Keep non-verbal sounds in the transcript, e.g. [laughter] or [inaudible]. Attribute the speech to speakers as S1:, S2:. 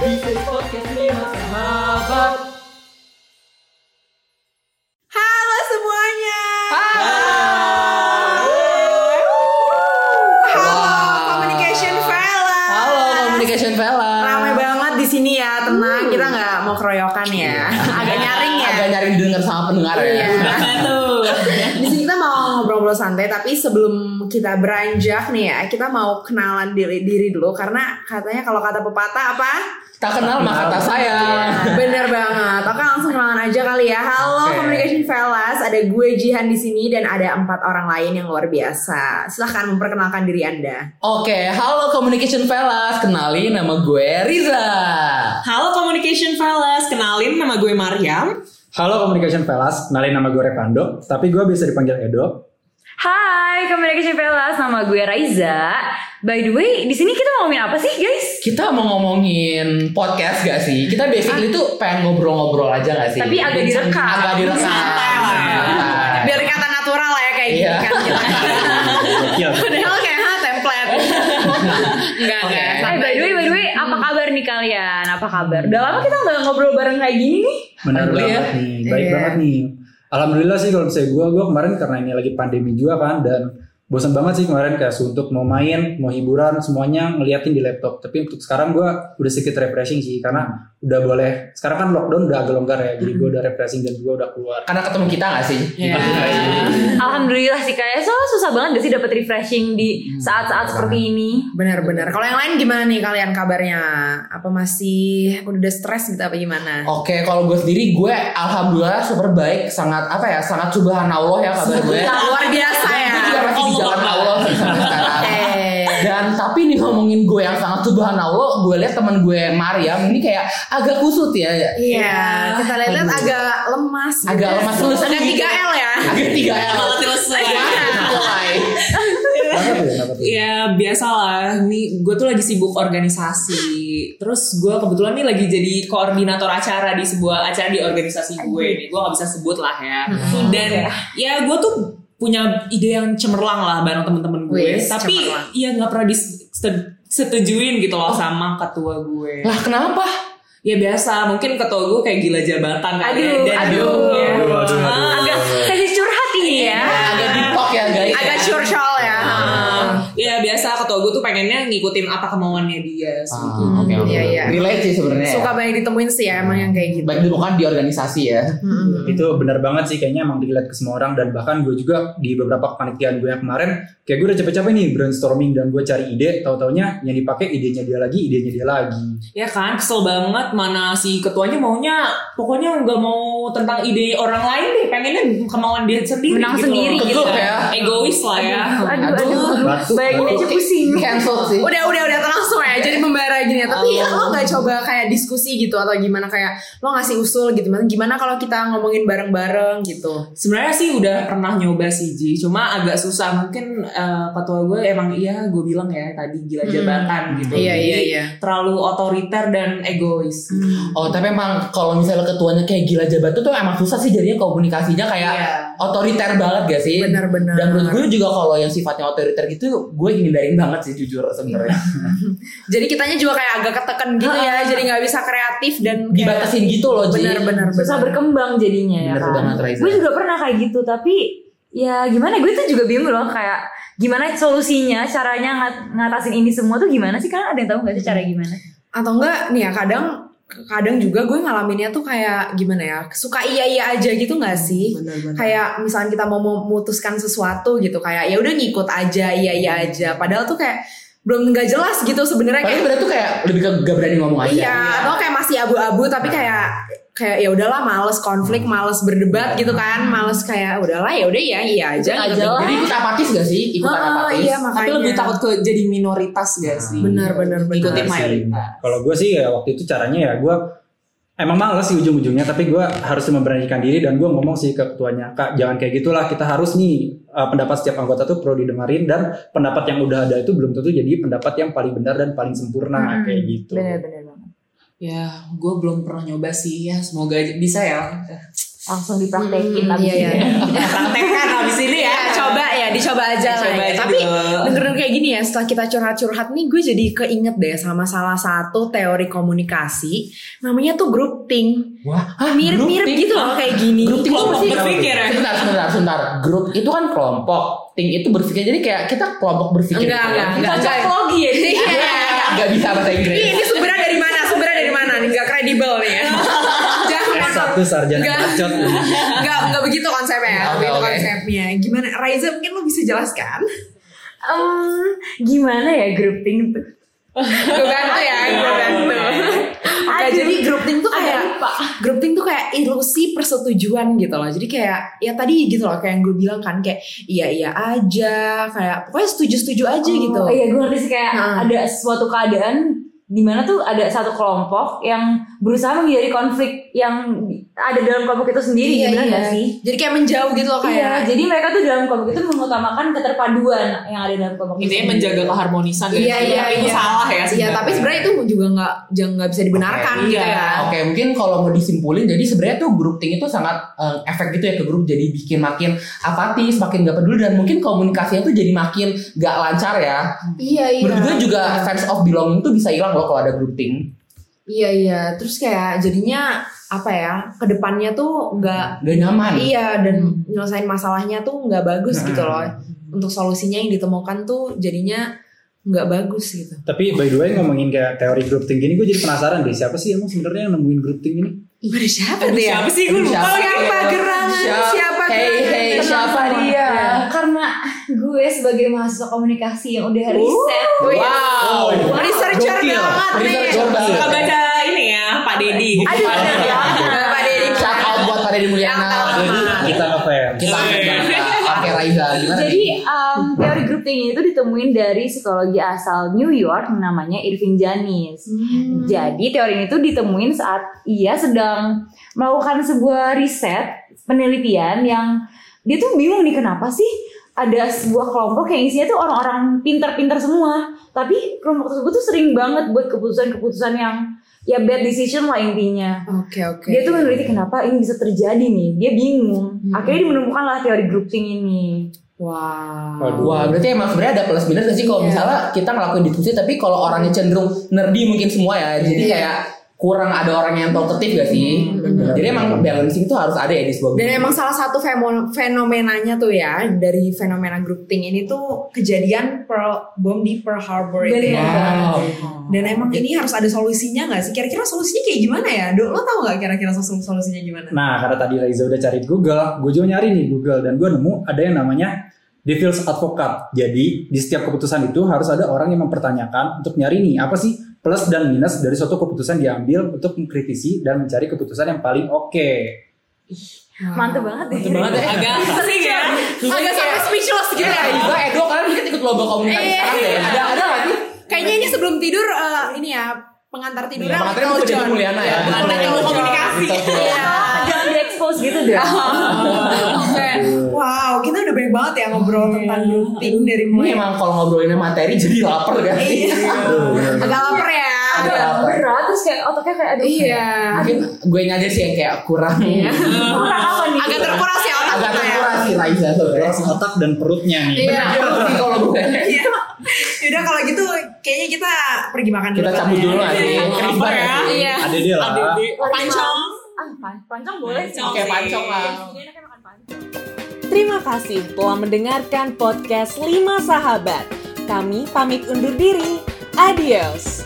S1: dari podcast lima sahabat.
S2: Halo semuanya.
S1: Hai.
S2: Halo
S1: Wah.
S2: Communication Fellas.
S1: Halo Communication Vela.
S2: Ramai banget di sini ya, tenang. Kita nggak mau keroyokan ya. Agak nyaring ya.
S1: Iya.
S2: Iya.
S1: Agak nyaring Iya. didengar sama pendengar ya.
S2: Di sini kita mau ngobrol-ngobrol santai, tapi sebelum kita beranjak nih ya, kita mau kenalan diri diri dulu karena katanya kalau kata pepatah
S1: [laughs]
S2: apa?
S1: [laughs] Tak kenal maka tak sayang.
S2: Bener banget. Oke langsung kenalan aja kali ya. Halo
S1: Oke.
S2: Communication Fellas, ada gue Jihan di sini dan ada empat orang lain yang luar biasa. Silahkan memperkenalkan diri anda.
S1: Oke, halo Communication Velas, kenalin nama gue Riza.
S3: Halo Communication Fellas, kenalin nama gue Mariam.
S4: Halo Communication Velas, kenalin nama gue Repando, tapi gue biasa dipanggil Edo.
S5: Hai, kembali lagi Velas, nama gue Raiza. By the way, di sini kita mau ngomongin apa sih, guys?
S1: Kita mau ngomongin podcast gak sih? Kita
S2: Ah.
S1: basically tuh pengen ngobrol-ngobrol aja gak sih?
S5: Tapi agak direkam.
S1: Agak direkam.
S3: Santai lah.
S1: Santai.
S2: Biar kata natural lah ya kayak
S1: Iya.
S2: gini kan kita.
S4: Gokil.
S2: Padahal kayak ha template.
S1: [laughs]
S2: Eh, Enggak,
S1: Oke.
S2: enggak.
S5: Hai, Eh, by the way, by the way, apa kabar nih kalian? Apa kabar? Udah lama kita nggak ngobrol bareng kayak gini nih.
S4: Benar
S1: Alhamdulillah
S4: banget
S1: ya.
S4: nih, baik
S2: Iya.
S4: banget nih. Alhamdulillah sih kalau misalnya gue, gue kemarin karena ini lagi pandemi juga kan, dan bosan banget sih kemarin kayak untuk mau main, mau hiburan, semuanya ngeliatin di laptop. Tapi untuk sekarang gue udah sedikit refreshing sih, karena udah boleh. Sekarang kan lockdown udah agak longgar ya, jadi gue udah refreshing dan gue udah
S1: [laughs]
S4: keluar.
S1: [laughs] Karena ketemu kita gak sih?
S2: Iya.
S5: Alhamdulillah sih kayak so susah banget gak sih dapat refreshing di saat-saat seperti ini.
S2: Benar-benar. Kalau yang lain gimana nih kalian kabarnya? Apa masih udah stres gitu apa gimana?
S1: Oke, kalau gue sendiri gue alhamdulillah super baik, sangat apa ya, sangat subhanallah ya kabar gue.
S2: Luar biasa ya.
S1: Gue juga masih di jalan Allah sih sampai sekarang.
S2: Eh.
S1: Dan tapi nih ngomongin gue yang sangat subhanallah, gue lihat teman gue Mariam ini kayak agak kusut ya.
S2: Iya, kita lihat-lihat
S1: Aduh.
S2: agak lemas. gitu.
S1: Agak lemas, lulusan
S2: Agak
S1: gigi.
S2: 3L ya.
S1: Agak tiga L.
S3: Kalau selesai.
S4: Kenapa tuh? Kenapa tuh?
S3: Ya biasalah, nih gue tuh lagi sibuk organisasi. Terus gue kebetulan nih lagi jadi koordinator acara di sebuah acara di organisasi gue nih. Gue nggak bisa sebut lah ya. Dan ya gue tuh punya ide yang cemerlang lah bareng temen-temen gue.
S2: Wih,
S3: Tapi
S2: cemerlang.
S3: ya nggak pernah disetujuin gitu loh sama ketua gue.
S1: Lah kenapa?
S3: Ya biasa, mungkin ketua gue kayak gila jabatan kali ya.
S5: Aduh,
S3: Dan-
S5: aduh.
S3: Ya.
S4: Aduh, aduh,
S3: Ah,
S4: aduh.
S5: Agak sesi curhat ini ya.
S1: Agak di talk ya guys.
S2: [laughs] Agak curcol ya.
S1: Ah.
S3: Ya biasa ketua gue tuh pengennya ngikutin apa kemauannya
S1: Ah,
S3: dia. sih.
S1: Oke oke.
S2: Iya, iya.
S1: Relate sih sebenarnya.
S2: Suka
S1: Suka
S2: banyak ditemuin sih ya emang yang kayak gitu.
S1: baik itu bukan di organisasi ya.
S2: Mm-mm.
S4: itu benar banget sih kayaknya emang dilihat ke semua orang dan bahkan gue juga di beberapa kepanitiaan gue yang kemarin kayak gue udah capek-capek nih brainstorming dan gue cari ide tahu-taunya yang dipakai idenya dia lagi idenya dia lagi
S3: Ya kan kesel banget mana si ketuanya maunya pokoknya nggak mau tentang ide orang lain deh pengennya kemauan dia sendiri.
S5: Menang
S3: gitu
S5: sendiri
S3: loh.
S1: gitu.
S3: Kegep ya. Egois lah ya.
S5: Aduh,
S1: Aduh.
S5: aduh,
S4: Batuk,
S5: aduh. Bayangin
S4: batuk.
S5: aja pusing.
S1: Cancel sih.
S2: Iya, Udah, udah, udah tenang semua ya. Jadi membara gini ya. Tapi lo nggak coba kayak diskusi gitu atau gimana kayak lo ngasih usul gitu. Gimana kalau kita ngomongin bareng-bareng gitu.
S3: Sebenarnya sih udah pernah nyoba sih Ji, cuma agak susah mungkin eh, ketua gue emang iya gue bilang ya tadi gila jabatan gitu.
S2: Iya,
S3: Jadi
S2: iya, iya. Hmm.
S3: Terlalu otoriter dan egois.
S1: Oh tapi emang kalau misalnya ketuanya kayak gila jabat tuh, tuh emang susah sih jadinya komunikasinya kayak
S3: Iya.
S1: otoriter banget gak sih?
S2: Benar-benar.
S1: Dan menurut gue juga kalau yang sifatnya otoriter gitu gue hindarin banget sih jujur
S2: [laughs]
S1: sebenarnya.
S2: Jadi kitanya juga kayak agak ketekan gitu ya. Jadi nggak bisa kreatif dan kayak-
S1: Dibatasin gitu loh Ji.
S2: Benar-benar.
S5: susah
S2: benar.
S5: berkembang jadinya ya
S1: Bener banget,
S5: kan.
S1: Raiza.
S5: Gue juga pernah kayak gitu tapi ya gimana gue tuh juga bingung loh kayak gimana solusinya caranya ngat- ngatasin ini semua tuh gimana sih kan ada yang tahu nggak sih cara gimana?
S2: atau enggak nih ya kadang kadang juga gue ngalaminnya tuh kayak gimana ya suka iya iya aja gitu nggak sih kayak misalnya kita mau memutuskan sesuatu gitu kayak ya udah ngikut aja iya iya aja padahal tuh kayak belum nggak jelas gitu sebenarnya
S1: Padahal
S2: kayak
S1: sebenarnya tuh kayak lebih ke gak berani ngomong aja.
S2: iya atau kayak masih abu-abu tapi kayak kayak ya udahlah males konflik males berdebat gitu kan males kayak udahlah ya udah ya iya aja
S5: Ikut
S2: gitu.
S5: aja lah.
S1: Jadi ikut apatis gak sih? Ikutan
S2: Heeh,
S1: apatis.
S2: iya
S3: Tapi
S2: makanya
S3: lebih takut ke jadi minoritas gak sih?
S2: bener bener bener
S4: Iya
S3: Ikutin mayoritas.
S4: Nah, kalau gue sih ya waktu itu caranya ya gue emang males sih ujung-ujungnya tapi gue harus memberanikan diri dan gue ngomong sih ke ketuanya kak jangan kayak gitulah kita harus nih eh, pendapat setiap anggota tuh perlu didengarin dan pendapat yang udah ada itu belum tentu jadi pendapat yang paling benar dan paling sempurna
S5: Hmm,
S4: kayak gitu
S5: Bener-bener banget.
S3: Ya, gue belum pernah nyoba sih. Ya, semoga aja bisa ya.
S5: Langsung dipraktekin
S2: Hmm, iya,
S5: abis
S2: iya.
S5: ini.
S3: Kita praktekkan habis ini ya.
S2: coba ya coba aja lah.
S3: Coba
S2: ya.
S3: aja
S2: Tapi
S3: dulu.
S2: dengerin kayak gini ya, setelah kita curhat-curhat nih, gue jadi keinget deh sama salah satu teori komunikasi, namanya tuh group think.
S1: Wah, ah, hah,
S2: Mirip-mirip
S1: grouping?
S2: gitu loh kayak gini.
S1: Group
S2: Lo
S1: think apa
S3: Kelompok
S1: sih?
S3: berpikir ya.
S1: Sebentar, sebentar, sebentar. Grup itu kan kelompok. Ting itu berpikir. Jadi kayak kita kelompok berpikir.
S2: Enggak,
S1: gitu ya.
S2: enggak, enggak.
S5: Cocok logi ya.
S2: Iya.
S1: Enggak bisa bahasa
S2: Ini,
S1: Inggris.
S2: ini sumbernya dari mana? Sumbernya dari mana? Ini Nggak kredibel nih ya. [laughs] Jangan
S4: Satu sarjana
S2: Enggak.
S4: bacot.
S2: Enggak, enggak begitu konsepnya ya.
S1: Oke,
S2: Begitu
S1: oke.
S2: konsepnya. Gimana? Raiza mungkin lo bisa jelaskan?
S5: Em, gimana ya grouping tuh?
S2: Gue bantu ya, gue bantu. Nah,
S5: Aduh.
S2: jadi grouping tuh
S5: Agak
S2: kayak
S5: lupa.
S2: grouping tuh kayak ilusi persetujuan gitu loh. Jadi kayak ya tadi gitu loh kayak yang gue bilang kan kayak iya iya aja kayak pokoknya setuju-setuju aja gitu.
S5: Oh, Iya gue ngerti sih kayak
S2: Heeh.
S5: ada suatu keadaan di mana tuh ada satu kelompok yang berusaha menghindari konflik yang ada dalam kelompok itu sendiri
S2: Iya,
S5: gimana nggak sih?
S2: Jadi kayak menjauh gitu loh
S5: Iya,
S2: kayak.
S5: jadi mereka tuh dalam kelompok itu mengutamakan keterpaduan yang ada dalam kelompok itu.
S3: Intinya
S5: sendiri.
S3: menjaga keharmonisan dan
S2: Iya, iya,
S3: itu
S2: iya.
S3: salah ya
S2: Iya, tapi sebenarnya itu juga nggak jangan nggak bisa dibenarkan
S3: Oke,
S2: gitu
S3: iya.
S2: ya.
S1: Oke, mungkin kalau mau disimpulin, jadi sebenarnya tuh grup ting itu sangat eh, efek gitu ya ke grup, jadi bikin makin apatis, makin gak peduli dan mungkin komunikasinya tuh jadi makin gak lancar ya.
S2: Iya, iya.
S1: Menurut gue juga sense of belonging tuh bisa hilang loh kalau ada grup ting.
S2: Iya, iya. Terus kayak jadinya apa ya? Kedepannya tuh nggak
S1: Gak nyaman.
S2: Iya dan nyelesain masalahnya tuh nggak bagus gitu loh.
S1: Hmm.
S2: Untuk solusinya yang ditemukan tuh jadinya nggak bagus gitu.
S4: Tapi by the way ngomongin kayak teori group think gini, gue jadi penasaran dih siapa sih emang sebenarnya yang nemuin group think ini?
S2: Waduh siapa tuh ya?
S3: Siapa sih gue lupa
S1: Siapa?
S3: lagi.
S2: Siapa gerangan?
S1: Siapa?
S2: Siapa
S1: Hey,
S2: gerangan?
S1: hey,
S2: Tenang,
S1: Iya, siapa
S2: tenang.
S1: dia?
S5: Ya, karena gue sebagai mahasiswa komunikasi yang
S1: Uh.
S5: udah riset.
S1: Wow.
S2: Oh, iya. Researcher
S4: Gokil.
S2: banget nih.
S1: Researcher banget.
S3: Suka baca ini ya Pak Dedi.
S5: Aduh, bener
S2: ya.
S5: banget.
S2: Bapak Dedi.
S1: Shout out buat Pak Deddy Mulyana.
S4: Jadi kita ngefans.
S1: Kita akan Oke Raiza, gimana?
S5: Jadi em, teori grouping itu ditemuin dari psikologi asal New York namanya Irving Janis.
S1: Hmm.
S5: Jadi teori ini tuh ditemuin saat ia sedang melakukan sebuah riset penelitian yang dia tuh bingung nih kenapa sih ada sebuah kelompok yang isinya tuh orang-orang pinter-pinter semua. Tapi kelompok tersebut tuh sering banget buat keputusan-keputusan yang ya bad decision lah intinya.
S2: Oke oke.
S5: Dia tuh meneliti kenapa ini bisa terjadi nih. Dia bingung.
S2: Hmm.
S5: Akhirnya menemukan lah teori grouping ini.
S2: Wow.
S4: Waduh.
S1: Wah berarti emang sebenarnya ada plus minus gak sih kalau
S2: Iya.
S1: misalnya kita ngelakuin diskusi tapi kalau orangnya cenderung nerdy mungkin semua ya jadi
S2: Iya.
S1: kayak kurang ada orang yang talkative gak sih
S4: bener.
S1: jadi emang balancing itu harus ada ya di sebuah
S2: Hmm, Dan
S1: grup.
S2: emang salah satu femo- fenomenanya tuh ya dari fenomena grouping ini tuh kejadian Pearl, bom di Pearl Harbor itu
S5: Bener.
S2: ya.
S1: wow
S2: Dan emang ini harus ada solusinya gak sih? Kira-kira solusinya kayak gimana ya? Do, lo tau gak kira-kira sol- solusinya gimana?
S4: Nah karena tadi Raiza udah cari Google, gue juga nyari nih Google dan gue nemu ada yang namanya Devil's Advocate. Jadi di setiap keputusan itu harus ada orang yang mempertanyakan untuk nyari nih apa sih plus dan minus dari suatu keputusan diambil untuk mengkritisi dan mencari keputusan yang paling oke.
S5: Mantep banget deh.
S1: Mantep banget ya
S3: Agak asing ya.
S2: Agak sampai speechless gitu
S1: Gila
S2: ya.
S1: Iba, Edo eh, kalian mungkin ikut lomba komunikasi
S2: Iya.
S1: Nah, sekarang deh Ada, ada gak sih?
S2: Kayaknya ini sebelum tidur eh, ini ya pengantar tidurnya.
S1: Iya, pengantarnya mau jadi
S2: John.
S1: Mulyana ya.
S2: Pengantar
S3: Pengantarnya
S2: ilmu
S3: mau
S2: komunikasi.
S1: komunikasi.
S2: Iya.
S5: Jangan diekspos gitu deh.
S2: Oke.
S1: Iya.
S2: Wow, kita udah banyak banget ya ngobrol tentang grouping dari
S1: Ini
S2: mulai.
S1: emang kalau ngobrolin materi jadi lapar kan sih
S2: Iya. Agak lapar ya.
S5: Agak berat terus kayak otaknya kayak aduh.
S2: Iya.
S1: Mungkin gue aja sih yang kayak kurang
S5: Kurang apa nih?
S2: Agak terkuras ya otak
S1: Agak
S2: kita ya.
S1: terkuras sih Raiza sebenernya
S4: Keras otak dan perutnya nih.
S2: Iya.
S1: Kurang sih kalau gue
S2: Iya. Yaudah kalau gitu kayaknya kita pergi makan dulu.
S1: Kita cabut
S2: kali ya.
S1: dulu lah sih
S3: Iya,
S1: Keris
S3: lapar
S1: banget
S3: ya.
S1: sih.
S2: Iya.
S4: Ada dia lah.
S3: Pancong.
S5: Ah, pan- pancong boleh sih. Iya,
S3: Pancong
S1: Oke,
S3: sih.
S1: pancong lah.
S5: Jadi enaknya makan pancong.
S6: Terima kasih telah mendengarkan podcast 5 Sahabat. Kami pamit undur diri. Adios.